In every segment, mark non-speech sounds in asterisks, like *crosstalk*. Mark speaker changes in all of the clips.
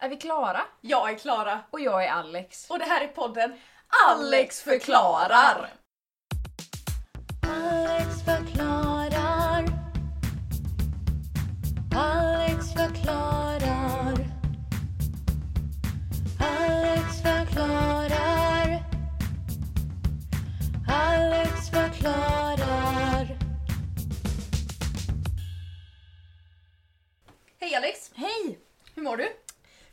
Speaker 1: Är vi klara?
Speaker 2: Jag är Klara
Speaker 1: Och jag är Alex.
Speaker 2: och det här är podden
Speaker 1: Alex förklarar.
Speaker 3: Alex förklarar. Alex förklarar. Alex förklarar. Alex förklarar.
Speaker 2: Hej Alex!
Speaker 1: Hej!
Speaker 2: Hur mår du?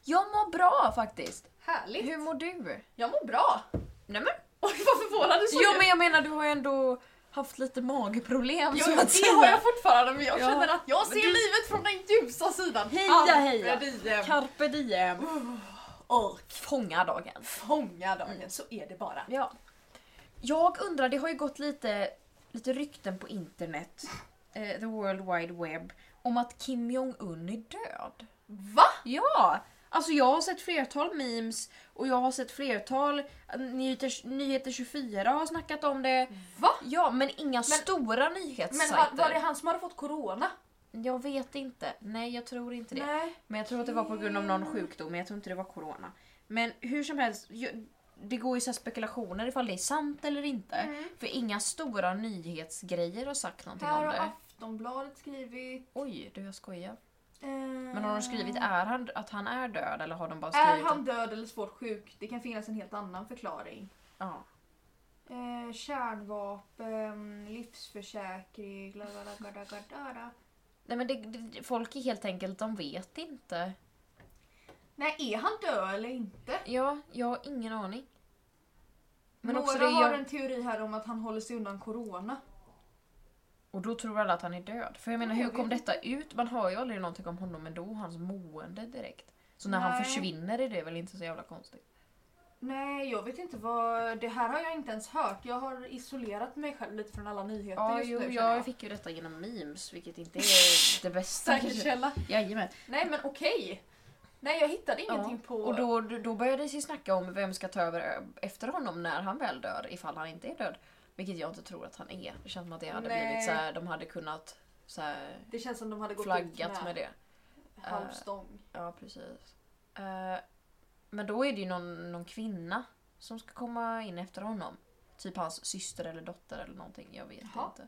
Speaker 1: Jag mår bra faktiskt.
Speaker 2: Härligt!
Speaker 1: Hur mår du?
Speaker 2: Jag mår bra!
Speaker 1: Nej men.
Speaker 2: Oj vad förvånad du såg
Speaker 1: Jo
Speaker 2: ut.
Speaker 1: men jag menar du har ju ändå haft lite magproblem
Speaker 2: Jo,
Speaker 1: så att
Speaker 2: det har jag fortfarande men jag
Speaker 1: Ja.
Speaker 2: känner att jag
Speaker 1: Men
Speaker 2: ser
Speaker 1: du-
Speaker 2: livet från den ljusa sidan.
Speaker 1: Heja, heja.
Speaker 2: Alfrediem.
Speaker 1: Carpe diem.
Speaker 2: Och
Speaker 1: Fånga dagen.
Speaker 2: fånga dagen,
Speaker 1: Mm.
Speaker 2: så är det bara.
Speaker 1: Ja. Jag undrar, det har ju gått lite, lite rykten på internet, eh, the world wide web, om att Kim Jong-Un är död.
Speaker 2: Va?
Speaker 1: Ja! Alltså jag har sett flertal memes och jag har sett flertal eh, Nyheter, Nyheter 24 har snackat om det.
Speaker 2: Va?
Speaker 1: Ja, men inga stora nyhetssajter.
Speaker 2: Men var, var det han som hade fått corona?
Speaker 1: Jag vet inte. Nej, jag tror inte det.
Speaker 2: Nej. Mm.
Speaker 1: Men jag tror att det var på grund av någon sjukdom, men jag tror inte det var corona. Men hur som helst, ju- det går ju så här spekulationer ifall det är sant eller inte.
Speaker 2: Mm.
Speaker 1: För inga stora nyhetsgrejer har sagt någonting
Speaker 2: Här
Speaker 1: om
Speaker 2: har
Speaker 1: det.
Speaker 2: Aftonbladet skrivit...
Speaker 1: Oj, du jag skojar.
Speaker 2: Eh,
Speaker 1: Men har de skrivit är han, att han är död eller har de bara
Speaker 2: Mm. Är
Speaker 1: skrivit
Speaker 2: han
Speaker 1: att,
Speaker 2: död eller svårt sjuk? Det kan finnas en helt annan förklaring.
Speaker 1: ja.
Speaker 2: Eh, kärnvapen, livsförsäkring, bla bla bla bla bla bla bla.
Speaker 1: Nej men det, det, folk är helt enkelt, de vet inte.
Speaker 2: Nej, är han död eller inte?
Speaker 1: Ja, jag har ingen aning. Men
Speaker 2: Några
Speaker 1: också det
Speaker 2: har
Speaker 1: jag,
Speaker 2: en teori här om att han håller sig undan corona.
Speaker 1: Och då tror alla att han är död. För jag menar
Speaker 2: Nej,
Speaker 1: hur
Speaker 2: jag
Speaker 1: kom
Speaker 2: vet
Speaker 1: detta ut? Man hör ju aldrig någonting om honom ändå och hans mående direkt. Så när han
Speaker 2: Nej.
Speaker 1: försvinner är det väl inte så jävla konstigt.
Speaker 2: Nej, jag vet inte vad... Det här har jag inte ens hört. Jag har isolerat mig själv lite från alla nyheter
Speaker 1: Ja,
Speaker 2: just
Speaker 1: jo,
Speaker 2: nu.
Speaker 1: jag,
Speaker 2: känner jag.
Speaker 1: fick ju detta genom memes, vilket inte
Speaker 2: *laughs*
Speaker 1: är det bästa
Speaker 2: Säker
Speaker 1: kanske.
Speaker 2: källa.
Speaker 1: Jajamän.
Speaker 2: Nej, men okej. Nej, jag hittade ingenting
Speaker 1: Ja.
Speaker 2: på...
Speaker 1: Och då, då började det ju snacka om vem ska ta över ö- efter honom när han väl dör, ifall han inte är död. Vilket jag inte tror att han är. Det känns som att det hade
Speaker 2: Nej.
Speaker 1: blivit så här, de hade kunnat så här,
Speaker 2: det känns som de hade gått
Speaker 1: flaggat
Speaker 2: ut
Speaker 1: med
Speaker 2: med,
Speaker 1: det.
Speaker 2: halvstång.
Speaker 1: Ja, precis. Eh, men då är det ju någon, någon kvinna som ska komma in efter honom. Typ hans syster eller dotter eller någonting. Jag vet
Speaker 2: Jaha.
Speaker 1: inte.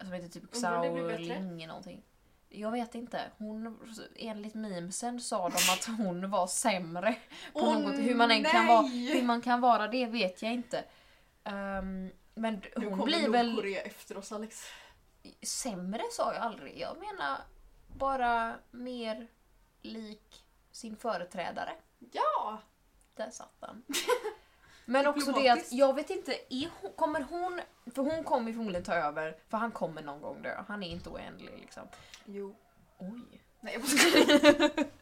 Speaker 1: Som heter typ
Speaker 2: Undrar om det blir bättre?
Speaker 1: Xauling någonting. Jag vet inte. Hon, enligt memesen sa de att hon var sämre. På
Speaker 2: Åh,
Speaker 1: något. Hur, man än kan vara,
Speaker 2: nej!
Speaker 1: hur man kan vara det vet jag inte. Ehm, men d-
Speaker 2: Nu
Speaker 1: hon
Speaker 2: kommer
Speaker 1: blir väl
Speaker 2: Nordkorea efter oss, Alex.
Speaker 1: sämre sa jag aldrig. Jag menar bara mer lik sin företrädare.
Speaker 2: Ja!
Speaker 1: Där satt
Speaker 2: *laughs*
Speaker 1: den. Men också det att
Speaker 2: Diplomatiskt.
Speaker 1: jag vet inte, är hon, kommer hon... För hon kommer ju förmodligen ta över, för han kommer någon gång dö. Han är inte oändlig liksom.
Speaker 2: Jo.
Speaker 1: Oj.
Speaker 2: Nej, jag
Speaker 1: *laughs* Nej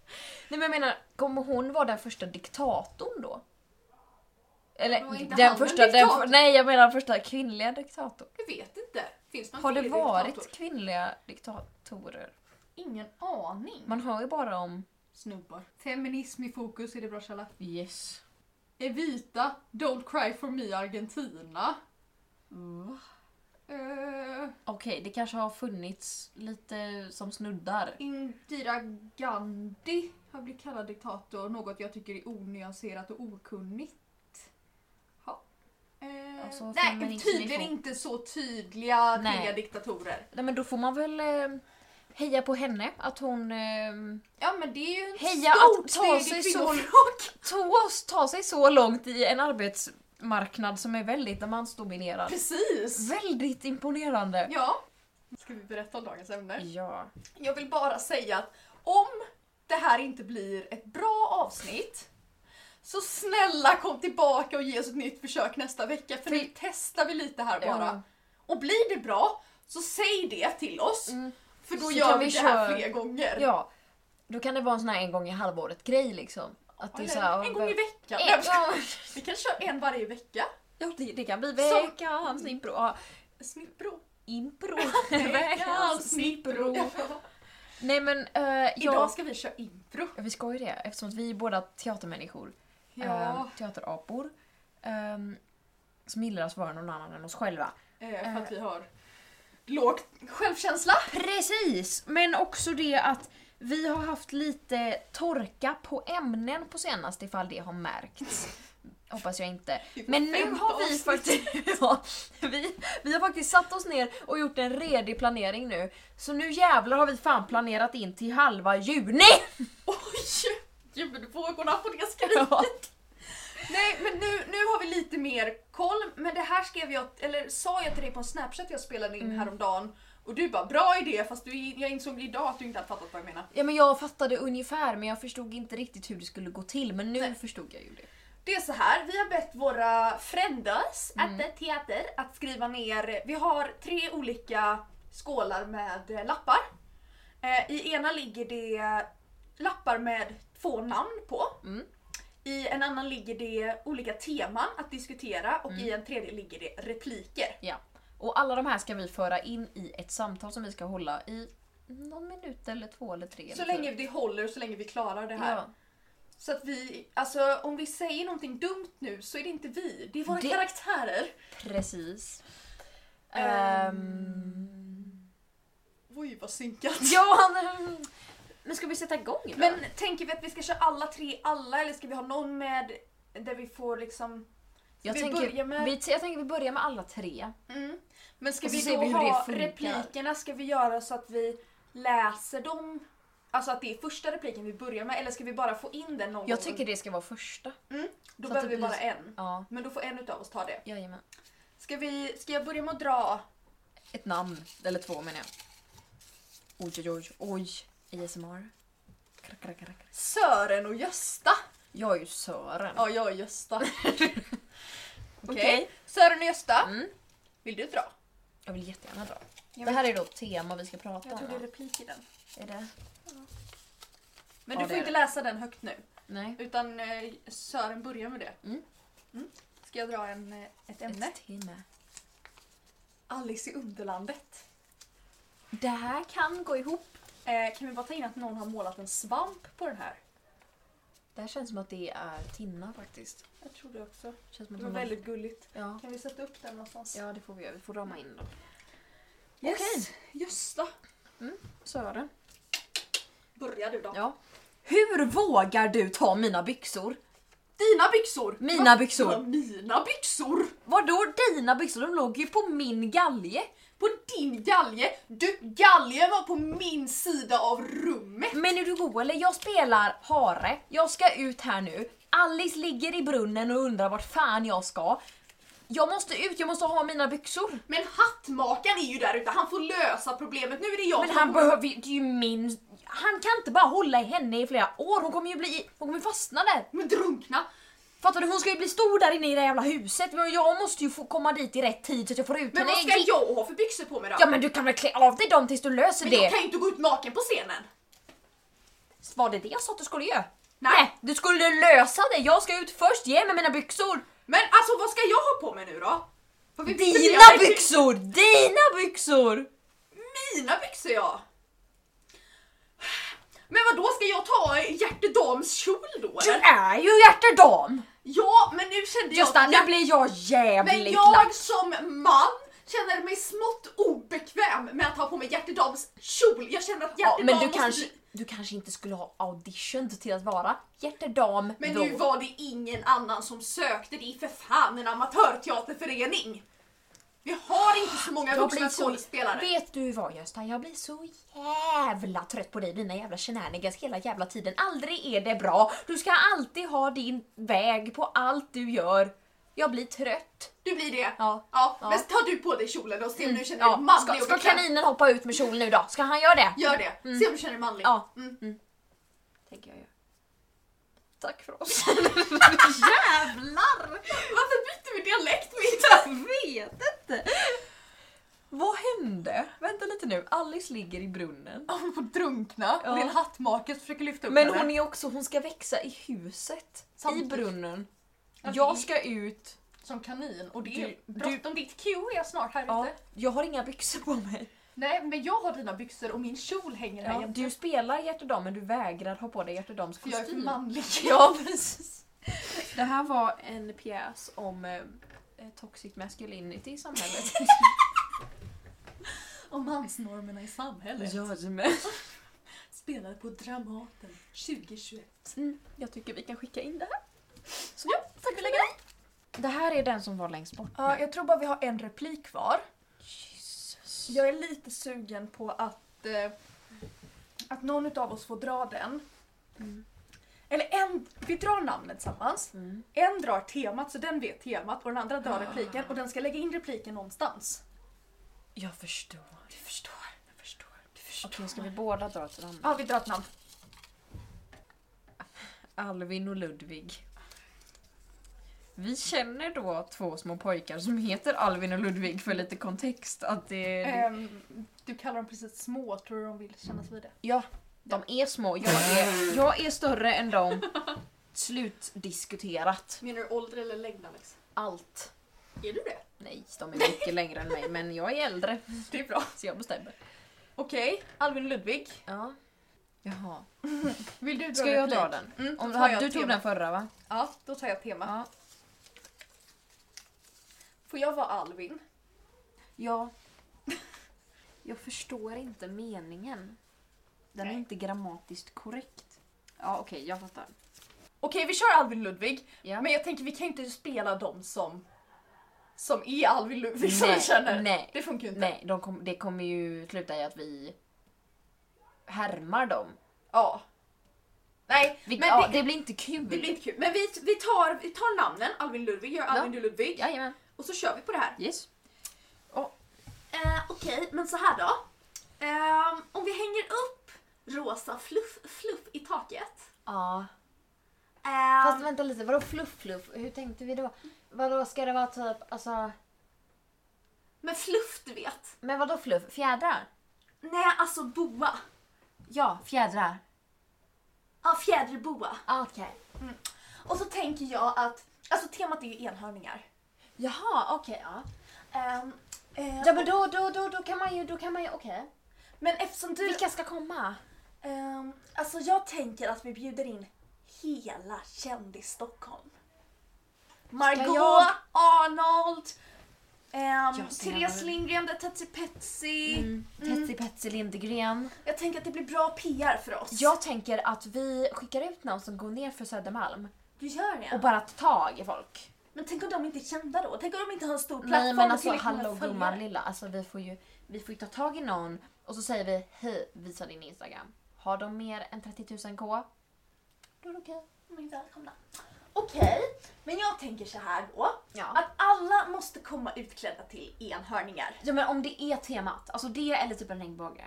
Speaker 1: men jag menar, kommer hon vara den första diktatorn då? Eller
Speaker 2: Då är inte
Speaker 1: den
Speaker 2: han en
Speaker 1: första... Den,
Speaker 2: diktator.
Speaker 1: för- nej jag menar den första kvinnliga diktatorn.
Speaker 2: Jag vet inte. Finns någon
Speaker 1: Har det
Speaker 2: kvinnlig
Speaker 1: varit
Speaker 2: diktator?
Speaker 1: kvinnliga diktatorer?
Speaker 2: Ingen aning.
Speaker 1: Man hör ju bara om...
Speaker 2: Snubbar. Feminism i fokus, är det bra källa?
Speaker 1: Yes.
Speaker 2: Evita, Don't cry for me Argentina. Eh,
Speaker 1: Okej, det kanske har funnits lite som snuddar.
Speaker 2: Indira Gandhi har blivit kallad diktator, något jag tycker är onyanserat och okunnigt. Ja. Eh,
Speaker 1: Alltså,
Speaker 2: nej,
Speaker 1: feminism i
Speaker 2: tydligen
Speaker 1: fokus.
Speaker 2: inte så tydliga
Speaker 1: Nej.
Speaker 2: kvinnliga diktatorer.
Speaker 1: Nej men då får man väl eh, heja på henne att hon eh,
Speaker 2: Ja men det är ju ett
Speaker 1: Heja
Speaker 2: stort
Speaker 1: att ta
Speaker 2: steg i
Speaker 1: sig så-
Speaker 2: kvinnofrågan.
Speaker 1: tog oss, ta sig så långt i en arbetsmarknad som är väldigt mansdominerad.
Speaker 2: *laughs* Precis!
Speaker 1: Väldigt imponerande.
Speaker 2: Ja. Ska vi berätta om dagens ämne?
Speaker 1: Ja.
Speaker 2: Jag vill bara säga att om det här inte blir ett bra avsnitt så snälla kom tillbaka och ge oss ett nytt försök nästa vecka för nu testar vi lite här
Speaker 1: Ja.
Speaker 2: bara. Och blir det bra så säg det till oss
Speaker 1: Mm.
Speaker 2: för då
Speaker 1: Så
Speaker 2: gör
Speaker 1: kan
Speaker 2: vi,
Speaker 1: vi
Speaker 2: det här
Speaker 1: köra-
Speaker 2: fler gånger.
Speaker 1: ja. Då kan det vara en sån här en gång i halvåret grej liksom. Att det är
Speaker 2: Eller
Speaker 1: så här,
Speaker 2: en gång i veckan. Nej,
Speaker 1: En-
Speaker 2: jag skojar.
Speaker 1: Ja,
Speaker 2: *laughs* Vi kan köra en varje vecka.
Speaker 1: ja det, det kan bli
Speaker 2: Så-
Speaker 1: veckans impro. Ja,
Speaker 2: Snittbro.
Speaker 1: *laughs* Impro.
Speaker 2: Veckans
Speaker 1: impro.
Speaker 2: Ja.
Speaker 1: Nej men eh,
Speaker 2: *laughs* Idag
Speaker 1: jag...
Speaker 2: ska vi köra impro.
Speaker 1: Vi ska ju det eftersom att vi är båda teatermänniskor.
Speaker 2: Ja,
Speaker 1: ehm, teaterapor. ehm, som gillar att vara någon annan än oss själva.
Speaker 2: eh, för att vi har lågt självkänsla.
Speaker 1: Precis! Men också det att Vi har haft lite torka på ämnen på senaste ifall det har märkts. Hoppas jag inte. Men nu har vi faktiskt, *laughs* ja, vi, vi har faktiskt satt oss ner och gjort en redig planering nu. Så nu jävlar har vi fan planerat in till halva juni! *laughs*
Speaker 2: Oj! Ljudvågorna på det skriket. Nej men nu, nu har vi lite mer koll, men det här skrev jag, eller sa jag till dig på en snapchat jag spelade in häromdagen och du bara bra idé fast du, jag insåg idag att du inte hade fattat vad jag menar.
Speaker 1: Ja men jag fattade ungefär men jag förstod inte riktigt hur det skulle gå till men nu förstod jag ju det.
Speaker 2: Det är så här, vi har bett våra frienders
Speaker 1: Mm.
Speaker 2: at the theater att skriva ner, vi har tre olika skålar med eh, lappar. Eh, I ena ligger det lappar med två namn på.
Speaker 1: Mm.
Speaker 2: I en annan ligger det olika teman att diskutera och
Speaker 1: Mm.
Speaker 2: i en tredje ligger det repliker.
Speaker 1: Ja. Och alla de här ska vi föra in i ett samtal som vi ska hålla i någon minut eller två eller tre.
Speaker 2: Så
Speaker 1: eller
Speaker 2: länge det håller, så länge vi klarar det
Speaker 1: fyra.
Speaker 2: här.
Speaker 1: Ja.
Speaker 2: Så att vi, alltså om vi säger någonting dumt nu så är det inte vi, det är våra
Speaker 1: Det-
Speaker 2: karaktärer.
Speaker 1: Precis.
Speaker 2: Ehm.
Speaker 1: Ehm.
Speaker 2: Oj vad synkat.
Speaker 1: Ja, men- men ska vi sätta igång då?
Speaker 2: Men tänker vi att vi ska köra alla tre alla eller ska vi ha någon med där vi får liksom...
Speaker 1: jag,
Speaker 2: vi
Speaker 1: tänker,
Speaker 2: börjar med-
Speaker 1: vi, jag tänker vi börjar med alla tre.
Speaker 2: Mm. Men ska
Speaker 1: Och så
Speaker 2: vi
Speaker 1: ser
Speaker 2: då
Speaker 1: vi hur det
Speaker 2: ha
Speaker 1: funkar.
Speaker 2: replikerna, ska vi göra så att vi läser dem? Alltså att det är första repliken vi börjar med eller ska vi bara få in den någon
Speaker 1: Jag
Speaker 2: gång? Mm,
Speaker 1: tycker det ska vara första.
Speaker 2: Då
Speaker 1: så att
Speaker 2: behöver
Speaker 1: det
Speaker 2: vi bara
Speaker 1: blir-
Speaker 2: en.
Speaker 1: Ja,
Speaker 2: Men då får en utav oss ta det.
Speaker 1: jajamän.
Speaker 2: Ska, vi, ska jag börja med att dra?
Speaker 1: Ett namn, eller två menar jag. Oj, oj, oj. oj. ASMR. Krack, krack, krack.
Speaker 2: Sören och Gösta.
Speaker 1: Jag är ju Sören.
Speaker 2: Ja, jag
Speaker 1: *laughs*
Speaker 2: är Gösta. Okej.
Speaker 1: Okej.
Speaker 2: Sören och Gösta,
Speaker 1: Mm.
Speaker 2: vill du dra?
Speaker 1: Jag vill jättegärna dra.
Speaker 2: Jag
Speaker 1: Det här är då ett tema vi ska prata om.
Speaker 2: Jag tror det är
Speaker 1: va?
Speaker 2: replik i den.
Speaker 1: Är det?
Speaker 2: Men
Speaker 1: Ja,
Speaker 2: du
Speaker 1: det
Speaker 2: får
Speaker 1: är
Speaker 2: inte läsa den högt nu.
Speaker 1: Nej.
Speaker 2: Utan eh, Sören börjar med det.
Speaker 1: Mm.
Speaker 2: Mm. Ska jag dra en, eh, ett ämne?
Speaker 1: Ett tema.
Speaker 2: Alice i Underlandet.
Speaker 1: Det här kan gå ihop.
Speaker 2: Eh, kan vi bara ta in att någon har målat en svamp på den här?
Speaker 1: Det här känns som att det är Tinna faktiskt.
Speaker 2: Jag tror det också.
Speaker 1: Känns som att
Speaker 2: Det var
Speaker 1: hon har-
Speaker 2: väldigt gulligt.
Speaker 1: Ja.
Speaker 2: Kan vi sätta upp den någonstans?
Speaker 1: ja, det får vi göra. Vi får rama in dem.
Speaker 2: Yes.
Speaker 1: Okej.
Speaker 2: Gösta.
Speaker 1: Sören.
Speaker 2: Börjar du då.
Speaker 1: Ja. Hur vågar du ta mina byxor?
Speaker 2: Dina byxor!
Speaker 1: Mina
Speaker 2: Va?
Speaker 1: byxor.
Speaker 2: Ja, mina byxor!
Speaker 1: Vadå dina byxor? De låg ju på min galge.
Speaker 2: På din galge! Du, galgen var på min sida av rummet!
Speaker 1: Men är du god eller? Jag spelar hare. Jag ska ut här nu. Alice ligger i brunnen och undrar vart fan jag ska. Jag måste ut, jag måste ha mina byxor.
Speaker 2: Men hattmakaren är ju där ute, han får lösa problemet. Nu är det jag
Speaker 1: Men
Speaker 2: som
Speaker 1: han
Speaker 2: kommer-
Speaker 1: behöver ju, det är ju min... Han kan inte bara hålla i henne i flera år, hon kommer ju bli... Hon kommer fastna där.
Speaker 2: Men drunkna!
Speaker 1: Fattar du? Hon ska ju bli stor där inne i det jävla huset. Men jag måste ju få komma dit i rätt tid så att jag får ut
Speaker 2: Men
Speaker 1: henne.
Speaker 2: vad ska jag ha för byxor på mig då?
Speaker 1: Ja men du kan väl klä av dig dem tills du löser
Speaker 2: men
Speaker 1: det.
Speaker 2: jag kan ju inte gå ut naken på scenen!
Speaker 1: Var det det jag sa att du skulle göra?
Speaker 2: Nej.
Speaker 1: Du skulle lösa det, jag ska ut först, ge mig mina byxor.
Speaker 2: Men alltså vad ska jag ha på mig nu då? Har vi
Speaker 1: Dina
Speaker 2: definierat-
Speaker 1: byxor! Dina byxor!
Speaker 2: Mina byxor ja! Men vad då ska jag ta hjärtedams kjol då
Speaker 1: Du
Speaker 2: eller?
Speaker 1: är ju hjärtedam!
Speaker 2: Ja men nu kände jag...
Speaker 1: Gösta, nu
Speaker 2: jag...
Speaker 1: blir jag jävligt
Speaker 2: Men
Speaker 1: lack.
Speaker 2: jag som man känner mig smått obekväm med att ha på mig hjärtedams kjol. Jag känner att
Speaker 1: Ja,
Speaker 2: hjärtedam
Speaker 1: men du
Speaker 2: måste
Speaker 1: kanske,
Speaker 2: bli-
Speaker 1: du kanske inte skulle ha audition till att vara hjärtedam
Speaker 2: Men
Speaker 1: då.
Speaker 2: nu var det ingen annan som sökte, det är för fan en amatörteaterförening! Vi har inte så många
Speaker 1: jag
Speaker 2: vuxna
Speaker 1: blir så,
Speaker 2: skådespelare.
Speaker 1: vet du vad Gösta, jag blir så jävla trött på dig dina jävla shenanigans hela jävla tiden. Aldrig är det bra. Du ska alltid ha din väg på allt du gör. Jag blir trött.
Speaker 2: Du blir det?
Speaker 1: Ja.
Speaker 2: ja. Mm.
Speaker 1: Ja.
Speaker 2: Men ta du på dig kjolen och se om du känner dig
Speaker 1: Ja,
Speaker 2: manlig
Speaker 1: ska,
Speaker 2: och
Speaker 1: ska
Speaker 2: bekväm.
Speaker 1: kaninen hoppa ut med kjol nu då? Ska han göra det?
Speaker 2: Gör det. Se om du känner dig manlig.
Speaker 1: Ja.
Speaker 2: Mm.
Speaker 1: Tänker jag göra. Tack för oss. Jävlar!
Speaker 2: Varför byter vi dialekt *laughs* mitt
Speaker 1: Jag vet inte. Vad hände? Vänta lite nu, Alice ligger i brunnen.
Speaker 2: Hon får drunkna
Speaker 1: Ja.
Speaker 2: och det är en hattmake som försöker lyfta upp
Speaker 1: Men
Speaker 2: henne.
Speaker 1: hon är också, hon ska växa i huset.
Speaker 2: Samtidigt.
Speaker 1: I brunnen.
Speaker 2: Okej.
Speaker 1: Jag ska ut.
Speaker 2: Som kanin och det är
Speaker 1: Du- du-
Speaker 2: bråttom. Ditt Q är snart här
Speaker 1: Ja,
Speaker 2: ute.
Speaker 1: jag har inga byxor på mig.
Speaker 2: Nej men jag har dina byxor och min kjol hänger här
Speaker 1: Ja,
Speaker 2: jämte.
Speaker 1: du spelar hjärtedam men du vägrar ha på dig hjärtedams
Speaker 2: För jag är för
Speaker 1: kostym.
Speaker 2: manlig.
Speaker 1: *laughs* Ja, precis. Det här var en pjäs om eh, toxic masculinity i samhället. *laughs*
Speaker 2: Och mansnormerna i samhället.
Speaker 1: Jajamän.
Speaker 2: spelar på Dramaten 2021.
Speaker 1: Mm, jag tycker vi kan skicka in det här. Så, tack för det. Det här är den som var längst bort
Speaker 2: Ja,
Speaker 1: nu.
Speaker 2: jag tror bara vi har en replik kvar.
Speaker 1: Jesus.
Speaker 2: Jag är lite sugen på att, eh, att någon av oss får dra den.
Speaker 1: Mm.
Speaker 2: Eller en, vi drar namnet tillsammans.
Speaker 1: Mm.
Speaker 2: En drar temat så den vet temat och den andra drar
Speaker 1: Ah.
Speaker 2: repliken och den ska lägga in repliken någonstans.
Speaker 1: Jag förstår.
Speaker 2: Du förstår, jag förstår, du förstår.
Speaker 1: Okej, ska vi båda dra till den?
Speaker 2: Ja, vi drar ett namn.
Speaker 1: Alvin och Ludvig. Vi känner då två små pojkar som heter Alvin och Ludvig för lite kontext. Att det,
Speaker 2: Ehm, du kallar dem precis små, tror du de vill kännas vid det?
Speaker 1: Ja, de är små. Jag är, jag är större än dem. Slutdiskuterat.
Speaker 2: Menar du ålder eller längd Alex?
Speaker 1: Allt.
Speaker 2: Är du det?
Speaker 1: Nej, de är mycket längre än mig men jag är äldre
Speaker 2: Det är bra.
Speaker 1: så jag bestämmer.
Speaker 2: Okej, Alvin och Ludvig.
Speaker 1: Ja. Jaha.
Speaker 2: Vill du dra
Speaker 1: Ska jag
Speaker 2: replik?
Speaker 1: dra den?
Speaker 2: Mm, då
Speaker 1: Om,
Speaker 2: tar jag
Speaker 1: du tog
Speaker 2: tema.
Speaker 1: den förra va?
Speaker 2: Ja, då tar jag tema.
Speaker 1: Ja.
Speaker 2: Får jag vara Alvin?
Speaker 1: Ja. Jag förstår inte meningen. Den
Speaker 2: Nej.
Speaker 1: är inte grammatiskt korrekt. Ja okej, jag fattar.
Speaker 2: Okej, vi kör Alvin och Ludvig.
Speaker 1: Ja.
Speaker 2: Men jag tänker vi kan ju inte spela dem som som är Alvin och Ludvig som
Speaker 1: Nej,
Speaker 2: vi känner.
Speaker 1: nej,
Speaker 2: det funkar ju inte.
Speaker 1: Nej, de kom, det kommer ju sluta i att vi härmar dem.
Speaker 2: Ja. Nej,
Speaker 1: Vi,
Speaker 2: men
Speaker 1: ja,
Speaker 2: det,
Speaker 1: det, blir inte kul.
Speaker 2: det blir inte kul. Men vi, vi, tar, vi tar namnen, Alvin och Ludvig, gör Alvin och Ludvig.
Speaker 1: Jajamän.
Speaker 2: Och så kör vi på det här.
Speaker 1: Yes.
Speaker 2: Eh, Okej, men så här då. Ehm, om vi hänger upp rosa fluff, fluff i taket.
Speaker 1: Ja.
Speaker 2: Ehm,
Speaker 4: Fast vänta lite, vadå fluff fluff? Hur tänkte vi då? Vadå ska det vara typ, alltså...
Speaker 2: Men fluff du vet.
Speaker 4: Men vadå fluff? Fjädrar?
Speaker 2: Nej, alltså boa.
Speaker 4: Ja, fjädrar.
Speaker 2: Ja, fjäderboa.
Speaker 4: Ah, Okej.
Speaker 2: Och så tänker jag att, alltså temat är ju enhörningar.
Speaker 4: Jaha, okej ja.
Speaker 2: Ehm, eh,
Speaker 4: Ja men då, då, då, då kan man ju, då kan man ju, okej.
Speaker 2: men eftersom du...
Speaker 4: Vilka ska komma?
Speaker 2: Ehm, alltså jag tänker att vi bjuder in hela kändis-Stockholm. Margot,
Speaker 4: jag-
Speaker 2: Arnold, um,
Speaker 1: Jag ser Mm.
Speaker 2: Therese
Speaker 1: det.
Speaker 2: Lindgren, det är Tetsi Petsi.
Speaker 1: Tetsi Petsi Lindgren.
Speaker 2: Jag tänker att det blir bra PR för oss.
Speaker 1: Jag tänker att vi skickar ut någon som går ner för Södermalm
Speaker 2: Du gör det?
Speaker 1: och bara tar tag i folk.
Speaker 2: Men tänk om de inte är kända då? Tänk om de inte har en stor plattform?
Speaker 1: Nej men
Speaker 2: och
Speaker 1: alltså
Speaker 2: tillräckligt många
Speaker 1: hallå
Speaker 2: följare?
Speaker 1: gumman lilla, alltså, vi får ju vi får ju ta tag i någon och så säger vi hej visa din Instagram. Har de mer än 30 000 k? Då är det okej.
Speaker 2: De är välkomna. Okej, men jag tänker så här då.
Speaker 1: Ja.
Speaker 2: Att alla måste komma utklädda till enhörningar.
Speaker 1: ja men om det är temat, alltså det eller typ en regnbåge.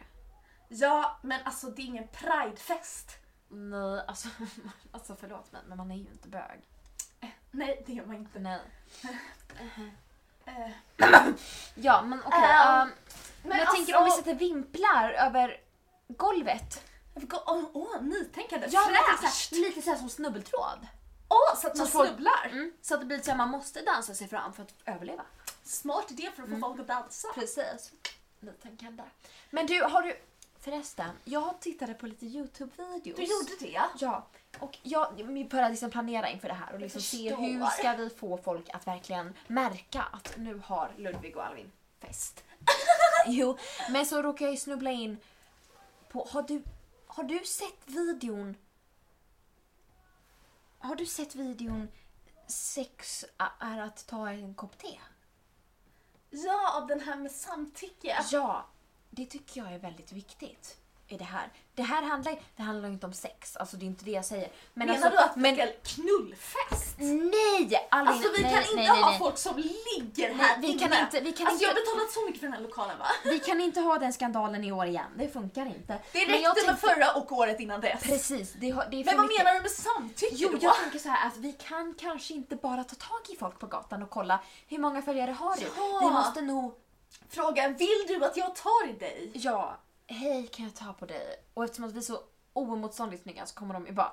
Speaker 2: Ja, men alltså det är ingen pridefest.
Speaker 1: Nej alltså, *laughs* alltså förlåt mig men man är ju inte bög.
Speaker 2: Nej, det är man inte.
Speaker 1: Nej.
Speaker 2: Eh,
Speaker 1: Ja men okej.
Speaker 2: Ehm,
Speaker 1: ehm, men alltså- jag tänker om vi
Speaker 2: alltså,
Speaker 1: sätter vimplar över golvet.
Speaker 2: sätter... Åh, åh, nytänkande!
Speaker 1: men
Speaker 2: Fräscht!
Speaker 1: så här- lite såhär som snubbeltråd.
Speaker 2: Åh, så att
Speaker 1: Så
Speaker 2: man
Speaker 1: folk-
Speaker 2: snubblar!
Speaker 1: Mm. Så att det blir så här, man måste dansa sig fram för att överleva.
Speaker 2: Smart idé för att få folk att dansa.
Speaker 1: Mm. Precis. Nytänkande. Men du, har du... Förresten, jag tittade på lite YouTube-videos.
Speaker 2: Du gjorde det?
Speaker 1: Ja. Och jag jag började liksom planera inför det här och liksom se
Speaker 2: förstår.
Speaker 1: hur ska vi få folk att verkligen märka att nu har Ludvig och Alvin
Speaker 2: *laughs*
Speaker 1: fest. jo, men så råkade jag ju snubbla in på... Har du, har du sett videon... Har du sett videon Sex är att ta en kopp te?
Speaker 2: Ja, den här med samtycke.
Speaker 1: Ja, det tycker jag är väldigt viktigt i det här. Det här handlar, det handlar ju inte om sex, alltså det är inte det jag säger. Men
Speaker 2: Menar
Speaker 1: alltså,
Speaker 2: du att
Speaker 1: men,
Speaker 2: det är knullfest?
Speaker 1: Nej! Alvin,
Speaker 2: Alltså vi
Speaker 1: nej,
Speaker 2: kan inte
Speaker 1: nej, nej,
Speaker 2: ha
Speaker 1: nej.
Speaker 2: folk som ligger
Speaker 1: Nej,
Speaker 2: här
Speaker 1: vi kan
Speaker 2: inne.
Speaker 1: inte- vi kan
Speaker 2: alltså jag
Speaker 1: inte-
Speaker 2: har betalat så mycket för den här lokalen va?
Speaker 1: Vi kan inte ha den skandalen i år igen, det funkar inte.
Speaker 2: Det räckte
Speaker 1: Men jag
Speaker 2: med
Speaker 1: tänkte-
Speaker 2: förra och året innan dess.
Speaker 1: Precis, det, har- det är för
Speaker 2: Men vad
Speaker 1: mycket.
Speaker 2: menar du med samtycke
Speaker 1: Jo,
Speaker 2: då?
Speaker 1: jag tänker så här att vi kan kanske inte bara ta tag i folk på gatan och kolla hur många följare har du?
Speaker 2: Ja.
Speaker 1: Vi måste nog,
Speaker 2: Frågan, vill du att jag tar i dig?
Speaker 1: ja, hej kan jag ta på dig? Och eftersom att vi är så oemotståndligt snygga så kommer de ju *laughs* bara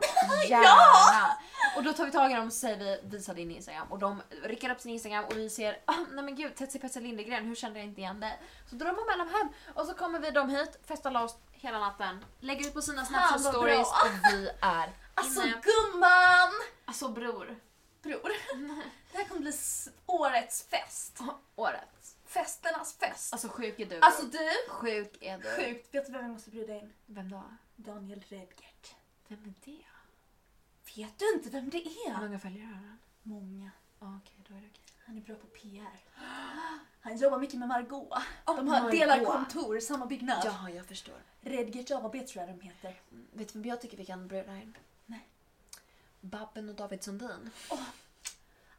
Speaker 2: Ja!
Speaker 1: gärna. Och då tar vi tag i dem och så säger vi visa din Instagram och de rycker upp sin Instagram och vi ser "Ah, nej men gud Tetsi Petsi Lindegren hur kände jag inte igen dig? Så drar man med dem hem och så kommer vi dem hit, festar loss hela natten, lägger ut på sina Snapchat
Speaker 2: vad bra.
Speaker 1: stories och vi är
Speaker 2: Alltså
Speaker 1: inne.
Speaker 2: gumman!
Speaker 1: Alltså bror,
Speaker 2: Bror, det här kommer bli s- årets fest.
Speaker 1: året.
Speaker 2: festernas fest.
Speaker 1: Alltså sjuk är du.
Speaker 2: Alltså du,
Speaker 1: sjuk är du.
Speaker 2: sjukt. Vet du vem vi måste bjuda in?
Speaker 1: Vem då?
Speaker 2: Daniel Redgert.
Speaker 1: Vem är det?
Speaker 2: Vet du inte vem det
Speaker 1: Hur
Speaker 2: är?
Speaker 1: många följare har han?
Speaker 2: Många.
Speaker 1: Ja, Okej, då är det okej.
Speaker 2: Han är bra på PR. *gasps* Han jobbar mycket med Margot. De
Speaker 1: my
Speaker 2: har delar
Speaker 1: God.
Speaker 2: kontor, samma byggnad.
Speaker 1: Ja, jag förstår.
Speaker 2: Redgert AB tror jag de heter.
Speaker 1: Mm, Vet du vem jag tycker vi kan bjuda in?
Speaker 2: Nej.
Speaker 1: Babben och David Sundin.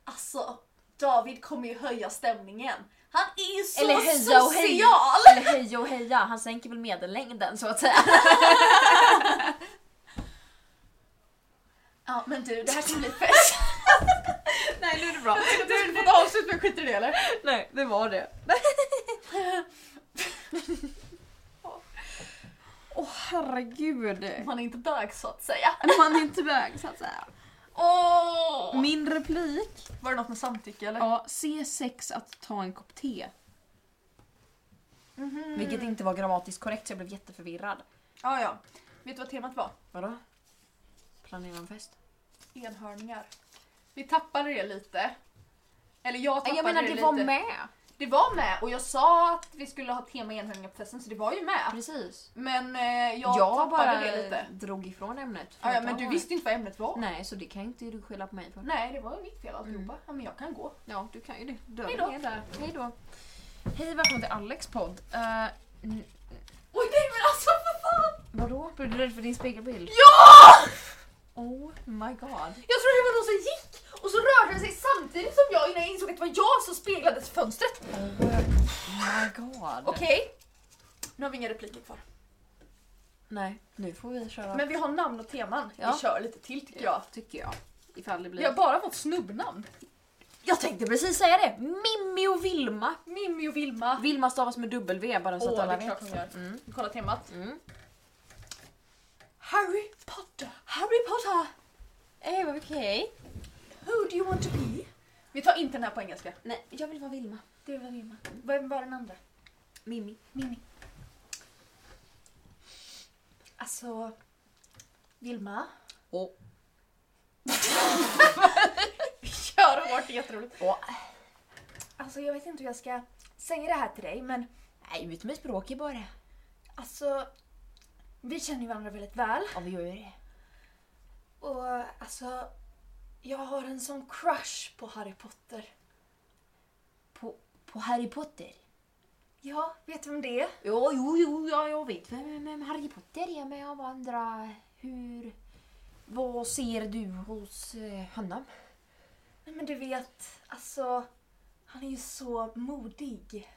Speaker 2: Alltså, David kommer ju höja stämningen. Han är ju så
Speaker 1: Eller heja och heja.
Speaker 2: social!
Speaker 1: Eller heja och heja, han sänker väl medellängden så att säga.
Speaker 2: Ja men du, det här kommer *laughs* bli fest.
Speaker 1: Nej, nu är det bra.
Speaker 2: Du skulle få ett avslut men skiter i det eller?
Speaker 1: Nej, det var *laughs* det.
Speaker 5: Åh herregud.
Speaker 2: Man är inte bög så att säga.
Speaker 5: Man är inte väg så att säga.
Speaker 2: Åh!
Speaker 5: Min replik.
Speaker 2: Var det något med samtycke eller?
Speaker 5: Ja, C6 att ta en kopp te.
Speaker 1: Vilket inte var grammatiskt korrekt så jag blev jätteförvirrad.
Speaker 2: Mhm. Ja, ja. Vet du vad temat var?
Speaker 1: Vadå? Planera en fest?
Speaker 2: Enhörningar. Vi tappade det lite. Eller jag tappade
Speaker 1: Jag menar
Speaker 2: det,
Speaker 1: det
Speaker 2: lite.
Speaker 1: var med.
Speaker 2: Det var med och jag sa att vi skulle ha tema enhörningar på festen så det var ju med.
Speaker 1: Precis.
Speaker 2: Men eh, jag,
Speaker 1: Jag,
Speaker 2: tappade
Speaker 1: bara
Speaker 2: det lite.
Speaker 1: drog ifrån ämnet. för
Speaker 2: Ja, ja,
Speaker 1: att
Speaker 2: men
Speaker 1: jag
Speaker 2: du
Speaker 1: var-
Speaker 2: visste inte vad ämnet var. Nej, Mm.
Speaker 1: Nej, så det kan inte du skylla på mig för.
Speaker 2: det var ju mitt fel alltihopa. Ja, men jag kan gå.
Speaker 1: Ja, du kan ju det. Dörren
Speaker 2: Hejdå.
Speaker 1: är där. Hej då. Hej välkommen till Alex podd. Eh, n-
Speaker 2: Oj nej men alltså för fan!
Speaker 1: vadå? Blev du rädd för din spegelbild?
Speaker 2: Ja!
Speaker 1: Oh my god.
Speaker 2: Jag trodde det var någon som gick och så rörde den sig samtidigt som jag innan jag insåg att det var jag som speglades i fönstret.
Speaker 1: My god.
Speaker 2: Okej. Nu har vi inga repliker kvar.
Speaker 1: Nej, nu får vi köra.
Speaker 2: Men vi har namn och teman.
Speaker 1: Ja.
Speaker 2: Vi kör lite till tycker jag.
Speaker 5: Tycker jag. Ifall det
Speaker 2: Vi
Speaker 5: blir...
Speaker 2: har bara fått snubbnamn.
Speaker 1: jag tänkte precis säga det. Mimmi och Vilma.
Speaker 2: Mimmi och Vilma.
Speaker 1: Vilma stavas med W bara så
Speaker 2: Åh,
Speaker 1: att
Speaker 2: det
Speaker 1: alla
Speaker 2: är klart
Speaker 1: vet.
Speaker 2: hon gör.
Speaker 1: Mm.
Speaker 2: Kolla temat.
Speaker 1: Mm.
Speaker 2: Harry Potter.
Speaker 1: Harry Potter! Eh, Okej.
Speaker 2: Who do you want to be? Vi tar inte den här på engelska.
Speaker 1: Nej, jag vill vara Vilma.
Speaker 2: Det var Vilma. Vem var den *laughs* andra?
Speaker 1: Mimmi.
Speaker 2: Mimmi. Alltså... Vilma.
Speaker 1: Åh.
Speaker 2: Vi kör hårt, det är jätteroligt.
Speaker 1: Åh.
Speaker 2: Alltså jag vet inte hur jag ska säga det här till dig men
Speaker 1: Nej, ut med språket bara.
Speaker 2: alltså... Vi känner ju varandra väldigt väl.
Speaker 1: Ja, vi gör ju det.
Speaker 2: Och alltså, jag har en sån crush på Harry Potter.
Speaker 1: På, på Harry Potter?
Speaker 2: Ja, vet du vem det är?
Speaker 1: Ja, jo, jo, ja, jag vet vem, vem Harry Potter är, men jag bara undrar hur... Vad ser du hos eh, honom?
Speaker 2: Nej men du vet, alltså, han är ju så modig.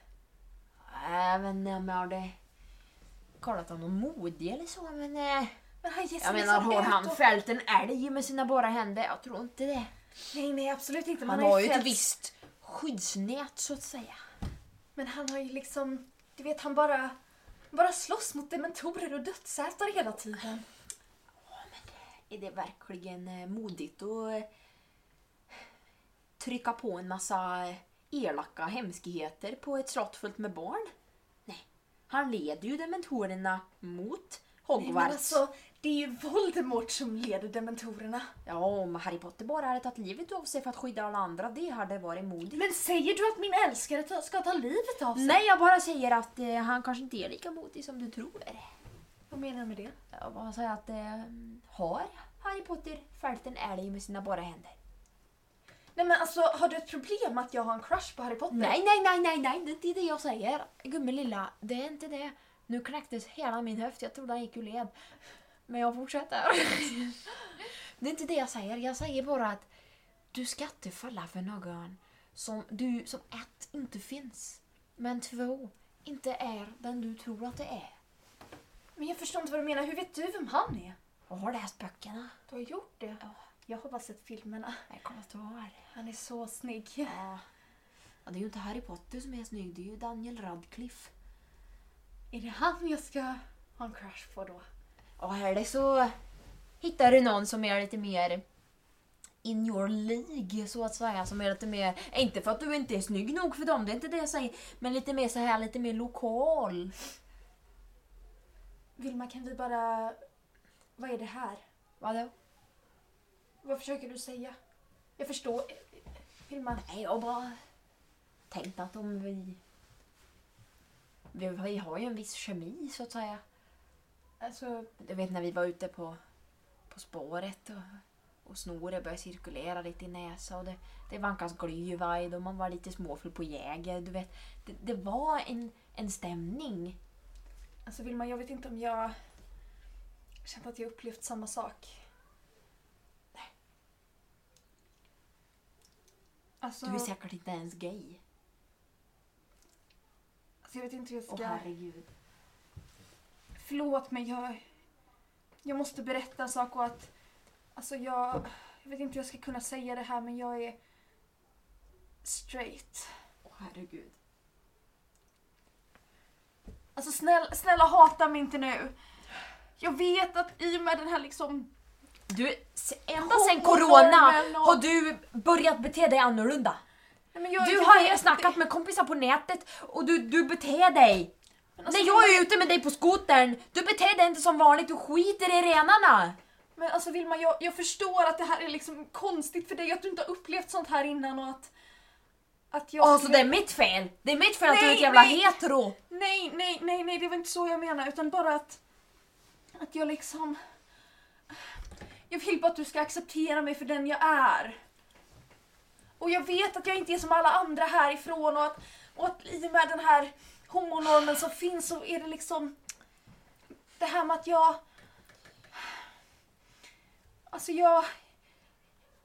Speaker 1: Även om jag hade kallat honom modig eller så, men... Eh,
Speaker 2: Men han ger sig
Speaker 1: jag menar,
Speaker 2: liksom
Speaker 1: har
Speaker 2: ut
Speaker 1: han
Speaker 2: och...
Speaker 1: fällt en älg med sina bara händer? Jag tror inte det.
Speaker 2: Nej, nej absolut inte. men
Speaker 1: Han har ju
Speaker 2: fällt-
Speaker 1: ett visst skyddsnät, så att säga.
Speaker 2: Men han har ju liksom, du vet han bara, bara slåss mot dementorer och dödsätare hela tiden.
Speaker 1: Är det verkligen eh, modigt att eh, trycka på en massa eh, elaka hemskheter på ett slott fullt med barn? Nej, han leder ju dementorerna mot
Speaker 2: Nej,
Speaker 1: Hogwarts.
Speaker 2: men alltså, det är ju Voldemort som leder dementorerna.
Speaker 1: Ja, om Harry Potter bara hade tagit livet av sig för att skydda alla andra, det hade varit modigt.
Speaker 2: Men säger du att min älskare ta- ska ta livet av sig?
Speaker 1: Nej, jag bara säger att eh, han kanske inte är lika modig som du tror.
Speaker 2: Vad menar du med det?
Speaker 1: Jag bara säger att eh, har Harry Potter fällt en älg med sina bara händer?
Speaker 2: Nej men alltså, har du ett problem att jag har en crush på Harry Potter?
Speaker 1: Nej, nej, nej, nej, nej, det är inte det jag säger. Gummelilla, det är inte det. Nu knäcktes hela min höft, jag trodde han gick ur led. Men jag fortsätter. *laughs* det är inte det jag säger, jag säger bara att du ska inte falla för någon som du, som ett, inte finns. Men två, inte är den du tror att det är.
Speaker 2: Men jag förstår inte vad du menar. Hur vet du vem han är?
Speaker 1: Jag har läst böckerna.
Speaker 2: Du har gjort det.
Speaker 1: Ja.
Speaker 2: Jag har bara sett filmerna.
Speaker 1: Jag kommer att vara
Speaker 2: Han är så snygg.
Speaker 1: ja. ja, det är ju inte Harry Potter som är snygg, det är ju Daniel Radcliffe.
Speaker 2: Är det han jag ska ha en crush på då?
Speaker 1: Och här är det så hittar du någon som är lite mer in your League så att säga. Som är lite mer, inte för att du inte är snygg nog för dem, det är inte det jag säger. Men lite mer så här, lite mer lokal.
Speaker 2: Vilma, kan vi bara... Vad är det här?
Speaker 1: Vadå?
Speaker 2: Vad försöker du säga? Jag förstår. Vilma,
Speaker 1: Nej, jag bara tänkt att om vi vi, vi har ju en viss kemi så att säga.
Speaker 4: Alltså,
Speaker 1: Du vet när vi var ute på, på spåret och, och snoret började cirkulera lite i näsa och det, det vankas glühwein och man var lite småfull på Jäger. Du vet, det, det var en, en stämning.
Speaker 2: Alltså Vilma, jag vet inte om jag känt att jag upplevt samma sak. Nej. Alltså,
Speaker 1: Du är säkert inte ens gay.
Speaker 2: alltså jag vet inte hur jag
Speaker 1: Åh
Speaker 2: ska...
Speaker 1: herregud.
Speaker 2: Förlåt men jag... Jag måste berätta en sak och att... Alltså jag... Jag vet inte hur jag ska kunna säga det här men jag är... Straight.
Speaker 1: Åh herregud.
Speaker 2: Alltså snäll, snälla hata mig inte nu. Jag vet att i och med den här liksom...
Speaker 1: Du, s- ända sen
Speaker 2: Homonormen
Speaker 1: corona
Speaker 2: och-
Speaker 1: har du börjat bete dig annorlunda.
Speaker 2: Nej, men jag,
Speaker 1: Du
Speaker 2: jag
Speaker 1: har
Speaker 2: vet-
Speaker 1: snackat med kompisar på nätet och du, du beter dig.
Speaker 2: Men alltså,
Speaker 1: När jag är ute med dig på skotern, du beter dig inte som vanligt, du skiter i renarna.
Speaker 2: Men alltså Vilma, jag, jag förstår att det här är liksom konstigt för dig, att du inte har upplevt sånt här innan och att... Att jag...
Speaker 1: Ja, så
Speaker 2: skulle-
Speaker 1: Alltså, det är mitt fel! Det är mitt fel att du är
Speaker 2: Nej,
Speaker 1: ett jävla
Speaker 2: nej.
Speaker 1: hetero!
Speaker 2: Nej, nej, nej, nej, det var inte så jag menar utan bara att... Att jag liksom... Jag vill bara att du ska acceptera mig för den jag är. Och jag vet att jag inte är som alla andra härifrån och att, och att i och med den här homonormen som finns så är det liksom... Det här med att jag... Alltså jag...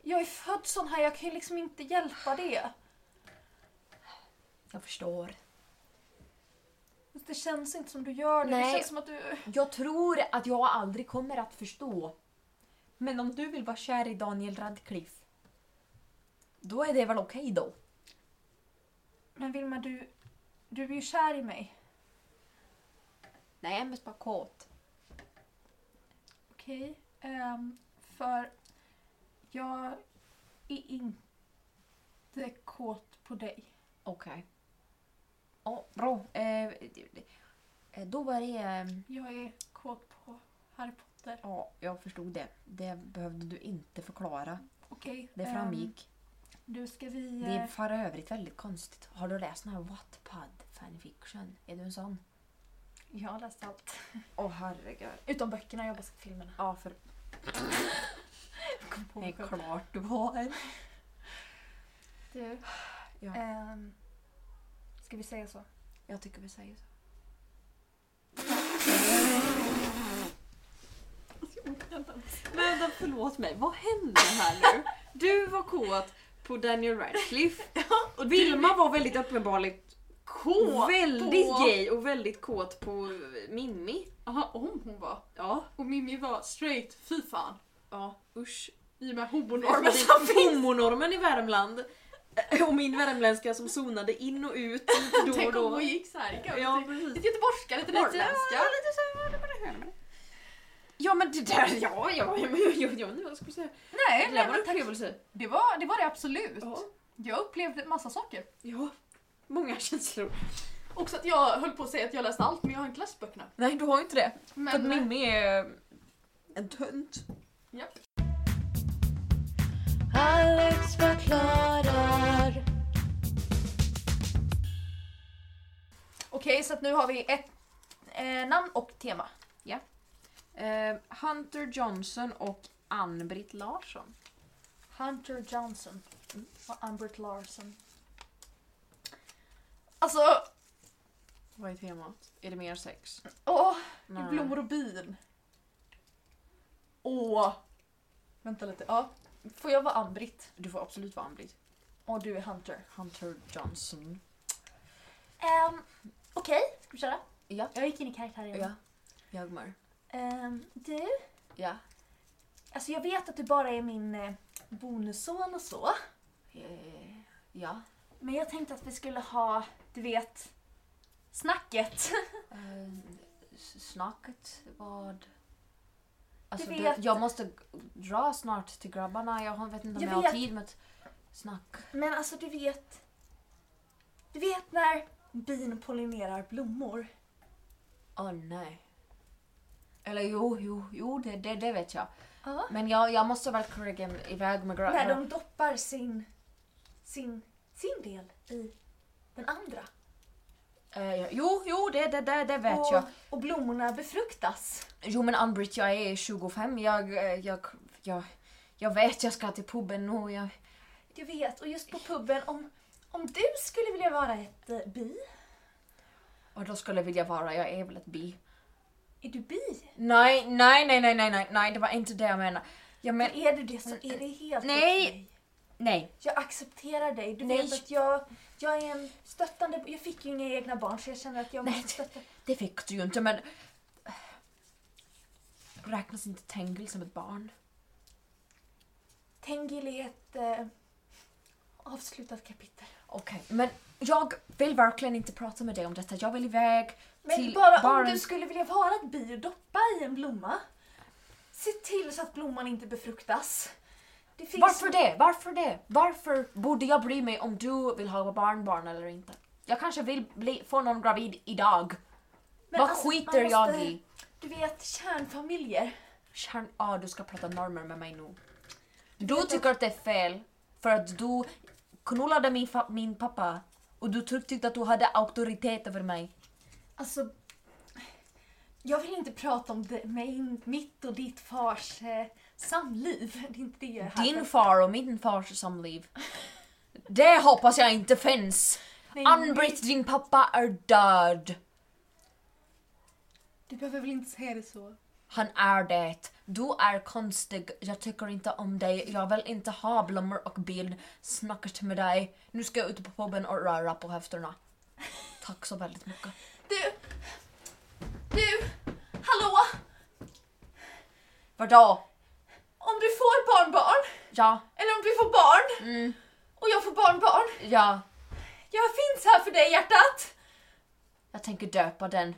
Speaker 2: Jag är född sån här, jag kan ju liksom inte hjälpa det.
Speaker 1: Jag förstår.
Speaker 2: Det känns inte som du gör det,
Speaker 1: Nej.
Speaker 2: det känns som att du...
Speaker 1: Jag tror att jag aldrig kommer att förstå. Men om du vill vara kär i Daniel Radcliffe, då är det väl okej då?
Speaker 2: Men Vilma, du, du är ju kär i mig.
Speaker 1: Nej, men bara kåt.
Speaker 2: Okej? Ehm, för jag är inte kåt på dig.
Speaker 1: Okej. Ja, bra. Eh, eh, då var det... eh,
Speaker 2: Jag är kåt på Harry Potter.
Speaker 1: Ja, jag förstod det. Det behövde du inte förklara.
Speaker 2: Okej?
Speaker 1: Det
Speaker 2: ehm,
Speaker 1: framgick.
Speaker 2: du, ska vi...
Speaker 1: Det är
Speaker 2: eh,
Speaker 1: för övrigt väldigt konstigt. Har du läst sån här Wattpad fanfiction? Är du en sån?
Speaker 2: Jag har läst allt.
Speaker 1: Åh herregud.
Speaker 2: Utom böckerna, jag har bara sett filmerna.
Speaker 1: Ja, för
Speaker 2: Kom
Speaker 1: det
Speaker 2: på mig
Speaker 1: är
Speaker 2: själv.
Speaker 1: klart du har.
Speaker 2: Du.
Speaker 1: Ja.
Speaker 2: ehm, ska vi säga så?
Speaker 1: Jag tycker vi säger så.
Speaker 5: Men vänta, förlåt mig. Vad hände här nu? Du var kåt på Daniel *laughs* Radcliffe. och Vilma var väldigt uppenbarligt
Speaker 2: Kåt
Speaker 5: väldigt
Speaker 2: på-
Speaker 5: gay och väldigt kåt på Mimmi.
Speaker 6: Jaha, om hon var.
Speaker 5: Ja,
Speaker 6: Och Mimmi var straight, fy fan.
Speaker 5: ja usch.
Speaker 6: I och med
Speaker 5: Normen
Speaker 6: homonormen som
Speaker 5: som finns. Homonormen i Värmland. Äh, Och min värmländska som zonade in och *laughs* ut lite då och
Speaker 6: Tänk om
Speaker 5: då.
Speaker 6: hon gick såhär. kan
Speaker 5: Ja,
Speaker 6: jag-
Speaker 5: precis.
Speaker 6: Lite göteborgska, lite norrländska.
Speaker 5: Ja men det där, ja, ja, ja, ja, ja, ja jag skulle säga.
Speaker 2: Nej, nej
Speaker 5: Det där var
Speaker 2: men
Speaker 5: en upplevelse.
Speaker 2: det var, det var det absolut.
Speaker 5: Ja,
Speaker 2: Jag upplevde en massa saker.
Speaker 5: ja. Många *laughs* känslor.
Speaker 6: Också att jag höll på att säga att jag läste allt men jag har inte läst böckerna.
Speaker 1: Nej, du har ju inte det. För att
Speaker 6: Men
Speaker 2: eh,
Speaker 1: Mimmi är... eh,
Speaker 5: En tönt.
Speaker 6: japp.
Speaker 3: Alex förklarar.
Speaker 2: Okej, så att nu har vi ett eh, namn och tema.
Speaker 5: Eh, Hunter Johnson och Ann-Britt Larsson.
Speaker 2: Hunter Johnson och Ambert Larson. Alltså,
Speaker 5: Vad är temat? Är det mer sex?
Speaker 2: åh,
Speaker 5: Nej.
Speaker 2: blommor och bin. Åh! Vänta lite, ja. Får jag vara Ambrit?
Speaker 5: Du får absolut vara Ann-Britt.
Speaker 2: Och du är Hunter.
Speaker 1: Hunter Johnson.
Speaker 2: Um, Okej, ska vi köra?
Speaker 1: Ja.
Speaker 2: Jag gick in i karaktär igen.
Speaker 1: Jag mår.
Speaker 2: Ehm, du,
Speaker 1: Ja.
Speaker 2: alltså jag vet att du bara är min eh, bonusson och så.
Speaker 1: Eh, Ja.
Speaker 2: Men jag tänkte att vi skulle ha, du vet,
Speaker 1: *laughs*
Speaker 2: snacket.
Speaker 1: Eh, s- Snacket, vad... Alltså,
Speaker 2: Du
Speaker 1: du
Speaker 2: vet-
Speaker 1: jag måste g- dra snart till grabbarna. Jag har- vet inte om
Speaker 2: Jag
Speaker 1: jag, har
Speaker 2: vet.
Speaker 1: tid med ett snack.
Speaker 2: Men alltså du vet... Du vet när bin pollinerar blommor?
Speaker 1: Åh nej. Eller jo, jo, jo, det, det, det vet jag.
Speaker 2: Ja.
Speaker 1: Men jag, jag måste väl kriga mig iväg med grabbarna.
Speaker 2: När de doppar sin, sin, sin del i den andra.
Speaker 1: Eh, ja, jo, jo, det, det, det, det vet
Speaker 2: och,
Speaker 1: jag.
Speaker 2: och blommorna befruktas.
Speaker 1: Jo men Ann-Britt, jag är 25. Jag, eh, jag, jag, jag vet jag ska till puben och jag...
Speaker 2: Jag vet, och just på puben, om, om du skulle vilja vara ett eh, bi?
Speaker 1: Och då skulle jag vilja vara, jag är väl ett bi.
Speaker 2: Är du bi?
Speaker 1: Nej, nej, nej, nej, nej, nej, nej, det var inte det jag menade. Jag men...
Speaker 2: Är du det så är det helt
Speaker 1: Nej.
Speaker 2: okej.
Speaker 1: Nej.
Speaker 2: Jag accepterar dig. Du
Speaker 1: Nej.
Speaker 2: vet att jag, jag är en stöttande... Jag fick ju inga egna barn så jag känner att jag
Speaker 1: Nej.
Speaker 2: måste stötta.
Speaker 1: Det fick du ju inte men... Räknas inte Tengil som ett barn?
Speaker 2: Tengil är ett eh, avslutat kapitel.
Speaker 1: Okej, men jag vill verkligen inte prata med dig om detta. Jag vill iväg
Speaker 2: Men
Speaker 1: till
Speaker 2: bara
Speaker 1: barn.
Speaker 2: om
Speaker 5: liksom-
Speaker 2: du skulle vilja vara ett bi och doppa i en blomma. Se till så att blomman inte befruktas. Det finns
Speaker 1: Varför det? Varför det? Varför borde jag bry mig om du vill ha barnbarn eller inte? Jag kanske vill bli, få någon gravid idag.
Speaker 2: Men
Speaker 1: Vad
Speaker 2: alltså, man
Speaker 1: skiter jag
Speaker 2: måste-
Speaker 1: i?
Speaker 2: Du vet, kärnfamiljer.
Speaker 1: Kärn... Ah, du ska prata normer med mig nu. Du tycker att det är fel för att du knullade min, fa- min pappa och du tyckte att du hade auktoritet över mig.
Speaker 2: Alltså, jag vill inte prata om det, min, mitt och ditt fars eh, samliv. Det är inte det jag är här för.
Speaker 1: Din far och min fars samliv. Det hoppas jag inte
Speaker 2: *laughs*
Speaker 1: finns.
Speaker 2: Nej,
Speaker 1: Ann-Britt, din pappa är död.
Speaker 6: Du behöver väl inte säga det så?
Speaker 1: Han är det. Du är konstig. Jag tycker inte om dig. Jag vill inte ha blommor och bild. Snackar till med dig. Nu ska jag ut på puben och röra på höfterna. Tack så väldigt mycket.
Speaker 2: Du! Du! Hallå!
Speaker 1: Vadå?
Speaker 2: Om du får barnbarn,
Speaker 1: Ja,
Speaker 2: eller om du får barn,
Speaker 1: Mm.
Speaker 2: och jag får barnbarn.
Speaker 1: ja.
Speaker 2: Jag finns här för dig hjärtat!
Speaker 1: Jag tänker döpa den.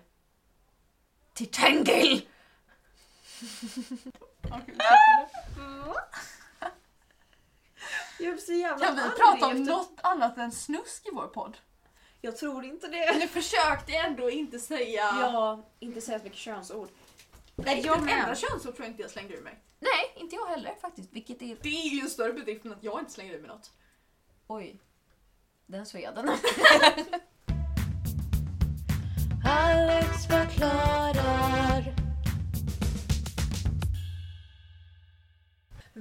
Speaker 1: Till Tengil!
Speaker 5: Jag blir så jävla
Speaker 6: Kan vi
Speaker 5: arg
Speaker 6: prata om
Speaker 5: efter-
Speaker 6: något annat än snusk i vår podd?
Speaker 5: Jag tror inte det.
Speaker 6: Nu försökte jag ändå inte säga...
Speaker 5: Ja, inte säga så mycket könsord.
Speaker 6: Nej,
Speaker 5: jag
Speaker 6: ett
Speaker 5: med.
Speaker 6: enda könsord tror jag inte jag slängde ur mig.
Speaker 1: Nej, inte jag heller faktiskt. Vilket är...
Speaker 6: Det är ju en större bedrift än att jag inte slänger ur mig något.
Speaker 1: Oj. Den sveden.
Speaker 3: *laughs* Alex förklarar.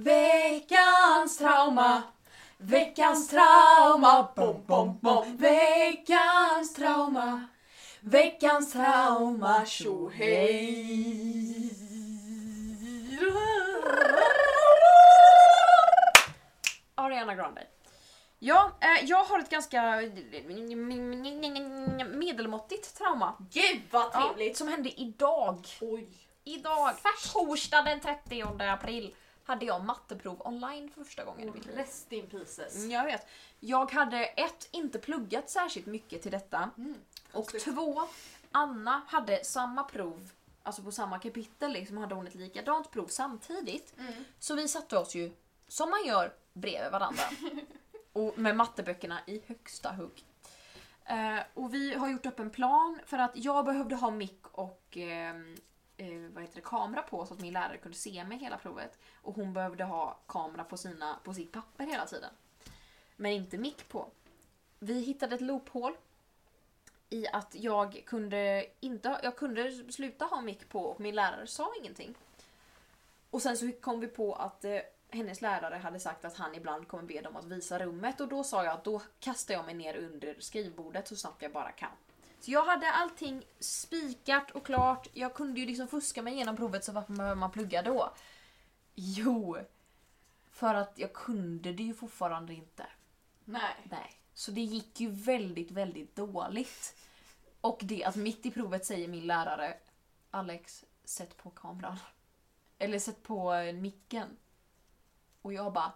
Speaker 6: Veckans trauma! Veckans trauma! Bom, bom, bom. Veckans trauma! Veckans trauma! Tjo hej!
Speaker 5: Ariana Grande.
Speaker 1: Ja, eh, jag har ett ganska medelmåttigt trauma.
Speaker 6: Gud vad
Speaker 1: Ja,
Speaker 6: trevligt!
Speaker 1: som hände idag.
Speaker 6: Oj.
Speaker 1: Idag, torsdag den 30 april, hade jag matteprov online för första gången i mitt liv.
Speaker 6: Rest in pieces.
Speaker 1: Mm, Jag vet. Jag hade ett, inte pluggat särskilt mycket till detta. och två, Anna hade samma prov, alltså på samma kapitel liksom, hade hon ett likadant prov samtidigt. Så vi satte oss ju, som man gör, bredvid varandra. och med matteböckerna i högsta hugg. Eh, och vi har gjort upp en plan för att jag behövde ha mick och ehm, eh, vad heter det, kamera på så att min lärare kunde se mig hela provet. Och hon behövde ha kamera på, sina, på sitt papper hela tiden. Men inte mick på. Vi hittade ett loophål i att jag kunde, inte, ha- jag kunde sluta ha mick på och min lärare sa ingenting. Och sen så kom vi på att eh, hennes lärare hade sagt att han ibland kommer be dem att visa rummet och då sa jag att då kastar jag mig ner under skrivbordet så snabbt jag bara kan. Så jag hade allting spikat och klart. Jag kunde ju liksom fuska mig igenom provet så varför behöver man plugga då? Jo, för att jag kunde det ju fortfarande inte.
Speaker 6: Nej.
Speaker 1: Nej. Så det gick ju väldigt, väldigt dåligt. Och det att mitt i provet säger min lärare Alex, sätt på kameran. Eller sätt på eh, micken. Och jag bara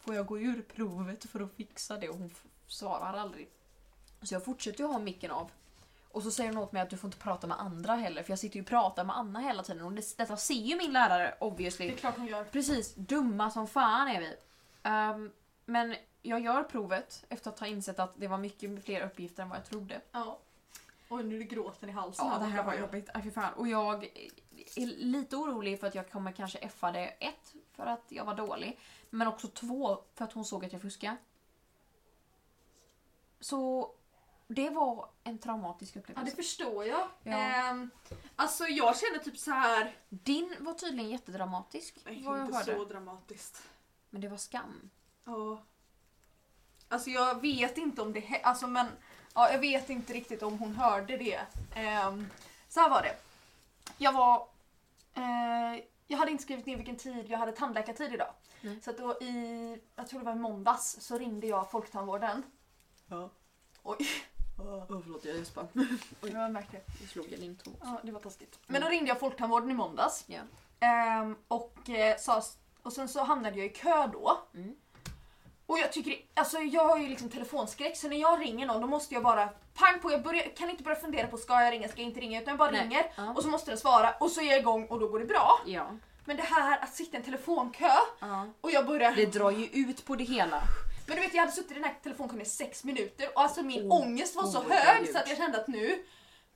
Speaker 1: Får jag gå ur provet för att fixa det? Och hon f- svarar aldrig. Så jag fortsätter ju ha micken av. Och så säger hon åt mig att du får inte prata med andra heller för jag sitter ju och pratar med Anna hela tiden och det, detta ser ju min lärare obviously.
Speaker 6: Det är klart hon gör.
Speaker 1: Precis, dumma som fan är vi. Ehm, men jag gör provet efter att ha insett att det var mycket fler uppgifter än vad jag trodde.
Speaker 6: Ja. Oj, nu är det gråten i halsen.
Speaker 1: jobbigt. Aj, fy fan. Och jag är lite orolig för att jag kommer kanske effa det. Ett, för att jag var dålig. Men också två, för att hon såg att jag fuskade. Så det var en traumatisk
Speaker 2: Ja, det
Speaker 1: upplevelse.
Speaker 2: förstår jag.
Speaker 1: Ja.
Speaker 2: Ehm, alltså jag känner typ så här.
Speaker 1: Din var tydligen jättedramatisk.
Speaker 2: Nej,
Speaker 1: vad jag
Speaker 2: inte
Speaker 1: hörde.
Speaker 2: så dramatiskt.
Speaker 1: Men det var skam.
Speaker 2: Ja. Alltså jag vet inte om det hä- alltså men ja, jag vet inte riktigt om hon hörde det. Ehm, så här var det. Jag var eh, jag hade inte skrivit ner vilken tid, jag hade tandläkartid idag.
Speaker 1: Mm.
Speaker 2: Så att då i, jag tror det var i måndags, så ringde jag folktandvården.
Speaker 5: Ja.
Speaker 2: Oj,
Speaker 5: Oh, förlåt, jag gäspar.
Speaker 2: jag märkte det.
Speaker 5: Nu slog jag din tå.
Speaker 2: Ja, det var taskigt. Men då ringde jag folktandvården i måndags.
Speaker 1: Ja.
Speaker 2: Ehm, och, eh, sa, och sen så hamnade jag i kö då.
Speaker 1: Mm.
Speaker 2: Och jag tycker, alltså jag har ju liksom telefonskräck så när jag ringer någon då måste jag bara pang på, jag börjar, kan inte börja fundera på ska jag ringa, ska jag inte ringa utan jag bara
Speaker 1: Nej.
Speaker 2: ringer
Speaker 1: Ja.
Speaker 2: och så måste den svara och så är jag igång och då går det bra.
Speaker 5: Ja.
Speaker 2: Men det här att sitta i en telefonkö och jag börjar...
Speaker 5: Det drar ju ut på det hela.
Speaker 2: Men du vet jag hade suttit i den här telefonkön i sex minuter och alltså min
Speaker 5: Oh,
Speaker 2: ångest var så
Speaker 5: oh,
Speaker 2: hög
Speaker 5: herregud.
Speaker 2: så att jag kände att nu...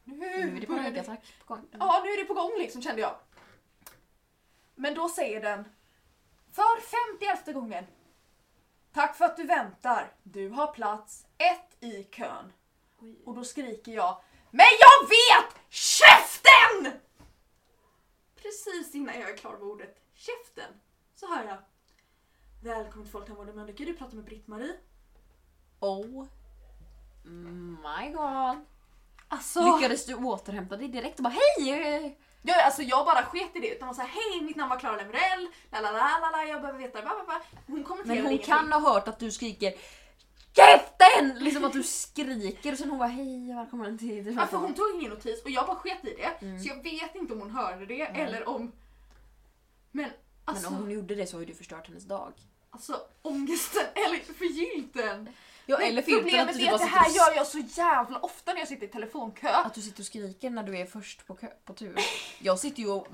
Speaker 2: Nu,
Speaker 1: Nu är det
Speaker 2: börjar det
Speaker 1: panikattack på gång.
Speaker 2: Ja, nu är det på gång liksom kände jag. Men då säger den för femtioelfte gången. Tack för att du väntar. Du har plats ett i kön. Och då skriker jag Men jag vet! Käften!
Speaker 6: Precis innan jag är klar med ordet käften så hör jag Välkommen till Folktandvården Mölnlycke, du pratar med Britt-Marie.
Speaker 1: Oh my god.
Speaker 2: Alltså,
Speaker 1: Oh. Lyckades du återhämta dig direkt och bara hej!
Speaker 2: jag, alltså jag bara sket i det utan var såhär hej mitt namn var Klara Lemerell, la la la la la jag behöver veta bla, bla, bla. Hon kommenterar
Speaker 1: Men hon
Speaker 2: ingenting.
Speaker 1: kan ha hört att du skriker KÄFTEN! Liksom att du skriker och sen hon bara hej välkommen till till
Speaker 2: Ja, för
Speaker 1: Välkommen."
Speaker 2: Alltså, hon tog ingen notis och jag bara sket i det.
Speaker 1: Mm.
Speaker 2: Så jag vet inte om hon hörde det eller om... Men alltså,
Speaker 1: Men om hon gjorde det så har ju du förstört hennes dag.
Speaker 2: alltså ångesten *laughs* eller förgylten.
Speaker 1: Ja,
Speaker 2: Men
Speaker 1: eller filten att
Speaker 2: Problemet
Speaker 1: du
Speaker 2: är
Speaker 1: bara
Speaker 2: att det
Speaker 1: sitter
Speaker 2: här
Speaker 1: och,
Speaker 2: gör jag så jävla ofta när jag sitter i telefonkö.
Speaker 1: att du sitter och skriker när du är först på, kö, på tur. Jag sitter ju och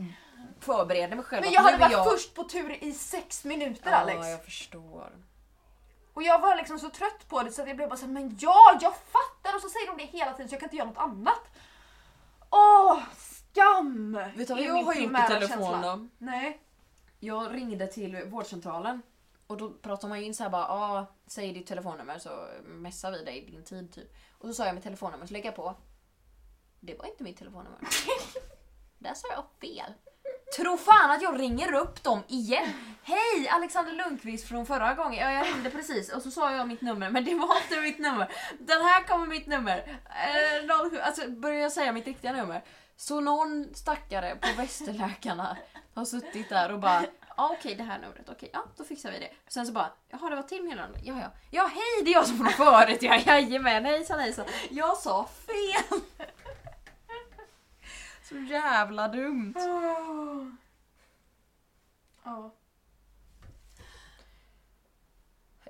Speaker 1: förbereder mig själv.
Speaker 2: Men
Speaker 1: att
Speaker 2: jag
Speaker 1: nu
Speaker 2: hade
Speaker 1: är
Speaker 2: varit först på tur i sex minuter Alex.
Speaker 1: Ja, jag förstår.
Speaker 2: Och jag var liksom så trött på det så att jag blev bara såhär, men ja, jag fattar! Och så säger de det hela tiden så jag kan inte göra något annat. Åh, skam!
Speaker 1: Vet du vad
Speaker 2: är
Speaker 1: jag
Speaker 2: min
Speaker 1: har gjort i
Speaker 2: primära
Speaker 1: telefon
Speaker 2: känsla.
Speaker 1: då?
Speaker 2: Nej.
Speaker 1: Jag ringde till vårdcentralen och då pratade man ju in så här bara ah, säg ditt telefonnummer så messar vi dig din tid typ. Och så sa jag mitt telefonnummer så lägger jag på. Det var inte mitt telefonnummer. *laughs* Där sa jag fel. Tro fan att jag ringer upp dem igen. Hej Alexander Lundqvist från förra gången. Ja, jag ringde precis och så sa jag mitt nummer men det var inte mitt nummer. Den här kommer mitt nummer. Eh, 07. Alltså börjar jag säga mitt riktiga nummer. Så någon stackare på västerläkarna har suttit där och bara Ja okej det här numret, okej ja då fixar vi det. Sen så bara jaha det var till mellan ja ja. Ja hej det är jag som från förut ja jajamän hejsan hejsan. Jag sa fel! Så jävla dumt.
Speaker 2: Ah. Ja.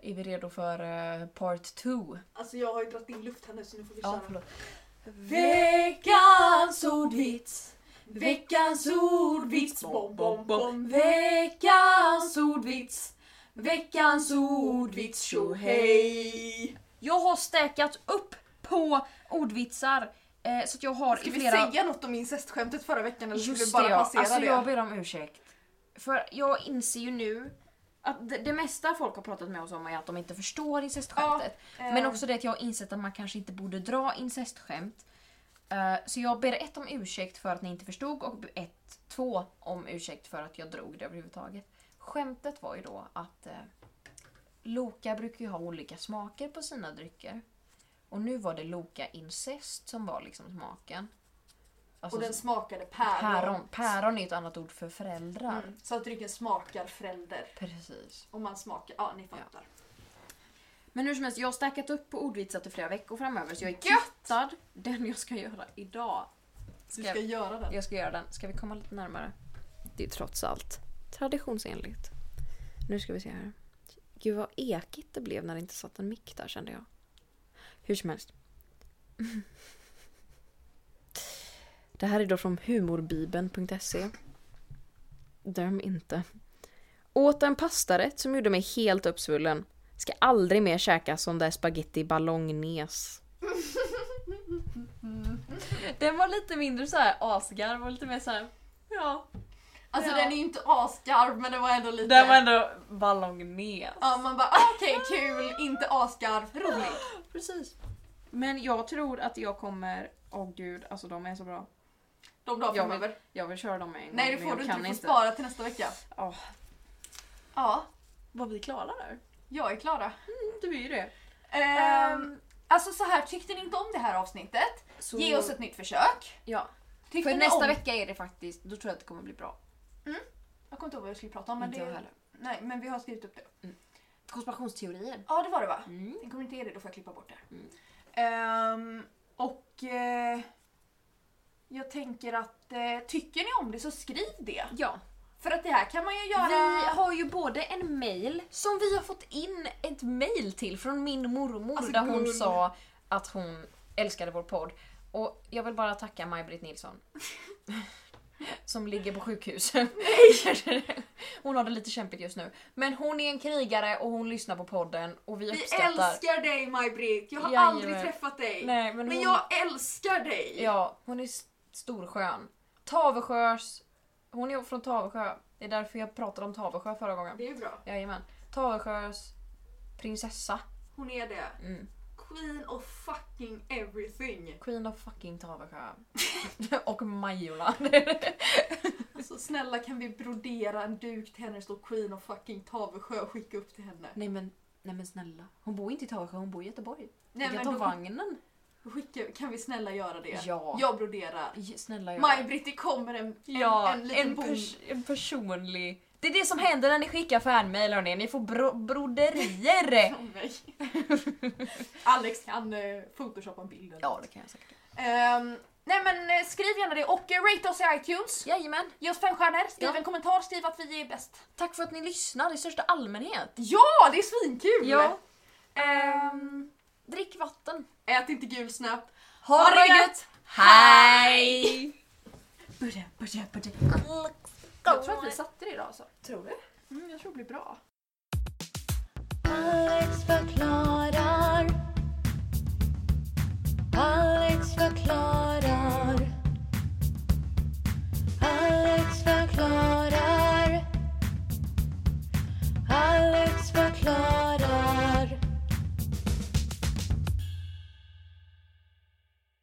Speaker 1: Är vi redo för eh, part 2?
Speaker 6: Alltså jag har ju dragit in luft här nu så nu får vi
Speaker 1: Ja
Speaker 6: köra.
Speaker 1: förlåt.
Speaker 3: Veckans ordvits. Veckans ordvits.
Speaker 6: Bom, bom, bom.
Speaker 3: Veckans ordvits. Veckans ordvits. Tjohej.
Speaker 1: Jag har stäkat upp på ordvitsar eh, så att jag har
Speaker 2: Ska
Speaker 1: i
Speaker 2: vi
Speaker 1: flera...
Speaker 2: säga något om incestskämtet förra veckan eller skulle vi
Speaker 1: Just
Speaker 2: bara
Speaker 1: det, ja.
Speaker 2: passera
Speaker 1: alltså
Speaker 2: det?
Speaker 1: jag ber om ursäkt. För jag inser ju nu att det, det mesta folk har pratat med oss om är att de inte förstår incestskämtet.
Speaker 2: Ehm,
Speaker 1: Men också det att jag har insett att man kanske inte borde dra incestskämt. Eh, så jag ber ett om ursäkt för att ni inte förstod och ett, två om ursäkt för att jag drog det överhuvudtaget. Skämtet var ju då att eh, Loka brukar ju ha olika smaker på sina drycker. Och nu var det Loka incest som var liksom smaken. Alltså,
Speaker 2: Och den smakade päron.
Speaker 1: Päron. Päron är ju ett annat ord för föräldrar.
Speaker 2: Mm. Så att drycken smakar förälder.
Speaker 1: Precis.
Speaker 2: Och man smakar, ja ni fattar.
Speaker 1: Men hur som helst, jag har stackat upp på ordvitsar till flera veckor framöver så jag är kittad. Den jag ska göra idag.
Speaker 2: Du ska göra den.
Speaker 1: Jag ska göra den. Ska vi komma lite närmare? Det är trots allt traditionsenligt. Nu ska vi se här. Gud vad ekigt det blev när det inte satt en mick där kände jag. Hur som helst. *laughs* Det här är då från humorbibeln.se. Döm inte. Åt en pastarätt som gjorde mig helt uppsvullen. Ska aldrig mer käka sån där spaghetti ballongnes. Den var lite mindre så här asgarv och lite mer så här. ja.
Speaker 2: Alltså den är ju inte asgarv men den var ändå lite...
Speaker 1: Den var ändå ballongnes.
Speaker 2: Ja man bara ah, okej kul, inte asgarv, rolig.
Speaker 1: Precis.
Speaker 5: Men jag tror att jag kommer... Åh gud, alltså de är så bra.
Speaker 2: De dagar
Speaker 5: Ja,
Speaker 2: framöver.
Speaker 5: Jag vill köra dem med en gång.
Speaker 2: Nej det
Speaker 5: men
Speaker 2: får
Speaker 5: jag
Speaker 2: du inte,
Speaker 5: kan
Speaker 2: du får spara till nästa vecka.
Speaker 5: Åh,
Speaker 2: Ja,
Speaker 5: var vi klara där?
Speaker 2: jag är Klara.
Speaker 5: Mm, Du är ju det.
Speaker 2: Ehm, alltså så här, tyckte ni inte om det här avsnittet?
Speaker 5: Så-
Speaker 2: Ge oss ett nytt försök.
Speaker 5: Ja.
Speaker 2: Tyckte
Speaker 1: För
Speaker 2: ni
Speaker 1: nästa
Speaker 2: om...
Speaker 1: vecka är det faktiskt, då tror jag att det kommer bli bra.
Speaker 2: Jag kommer inte ihåg vad vi skulle prata om men
Speaker 1: Inte
Speaker 2: det...
Speaker 1: jag heller.
Speaker 2: Nej men vi har skrivit upp det.
Speaker 1: Konspirationsteorier.
Speaker 2: Ja det var det va?
Speaker 1: Mm.
Speaker 2: Den kommer inte ge det, då får jag klippa bort det.
Speaker 5: Mm.
Speaker 2: Ehm, och eh, jag tänker att eh, tycker ni om det så skriv det.
Speaker 1: Ja.
Speaker 2: För att det här kan man ju göra...
Speaker 1: Vi har ju både en mail som vi har fått in ett mail till från min mormor
Speaker 2: Alltså,
Speaker 1: där hon
Speaker 2: gull.
Speaker 1: sa att hon älskade vår podd. Och jag vill bara tacka Maj-Britt
Speaker 5: *laughs*
Speaker 1: Nilsson. som ligger på sjukhus. hon har det lite kämpigt just nu. Men hon är en krigare och hon lyssnar på podden och vi
Speaker 6: Vi
Speaker 1: uppskattar...
Speaker 6: älskar dig Maj-Britt, jag har
Speaker 1: Jajamän.
Speaker 6: aldrig träffat dig.
Speaker 1: Nej, men,
Speaker 6: Men
Speaker 1: hon,
Speaker 6: jag älskar dig!
Speaker 1: Ja, hon är s- storskön. Tavesjös... Hon är från Tavesjö. Det är därför jag pratade om Tavesjö förra gången.
Speaker 6: Det är bra.
Speaker 1: Jajamän. Tavesjös prinsessa.
Speaker 6: Hon är det.
Speaker 1: Mm.
Speaker 6: Queen of fucking everything.
Speaker 1: Queen of fucking Tavesjö. *laughs* och Majorna.
Speaker 6: Alltså snälla kan vi brodera en duk till henne det står Queen of fucking Tavesjö och skicka upp till henne?
Speaker 1: nej, men, nej men snälla. Hon bor inte i Tavesjö, hon bor i Göteborg.
Speaker 6: Nej
Speaker 1: vi kan
Speaker 6: men
Speaker 1: ta
Speaker 6: då
Speaker 1: vagnen.
Speaker 6: skicka, kan vi snälla göra det?
Speaker 1: Ja.
Speaker 6: Jag broderar.
Speaker 1: J- Snälla gör det.
Speaker 6: Maj-Britt det kommer en, en,
Speaker 1: Ja,
Speaker 6: en
Speaker 1: en,
Speaker 6: liten bon.
Speaker 1: pers- en personlig... Det är det som händer när ni skickar fanmail hörni. Ni får bro-
Speaker 2: *laughs*
Speaker 1: broderier.
Speaker 6: från mig. Alex kan eh, photoshoppa en bild. eller
Speaker 1: ja,
Speaker 6: något.
Speaker 1: det kan jag säkert.
Speaker 2: Ehm, nej men eh, skriv gärna det och eh, rate oss i iTunes.
Speaker 1: Jajamän.
Speaker 2: Ge oss fem stjärnor, skriv
Speaker 1: Ja.
Speaker 2: en kommentar, skriv att vi är bäst.
Speaker 1: Tack för att ni lyssnar i största allmänhet.
Speaker 2: Ja, det är svinkul!
Speaker 1: Ja.
Speaker 2: Ehm,
Speaker 1: Drick vatten.
Speaker 6: Ät inte gul snö.
Speaker 1: Ha det gött! Hej!
Speaker 2: jag tror att vi satte det idag alltså.
Speaker 5: Tror du?
Speaker 2: Mm, jag tror det blir bra.
Speaker 4: Alex förklarar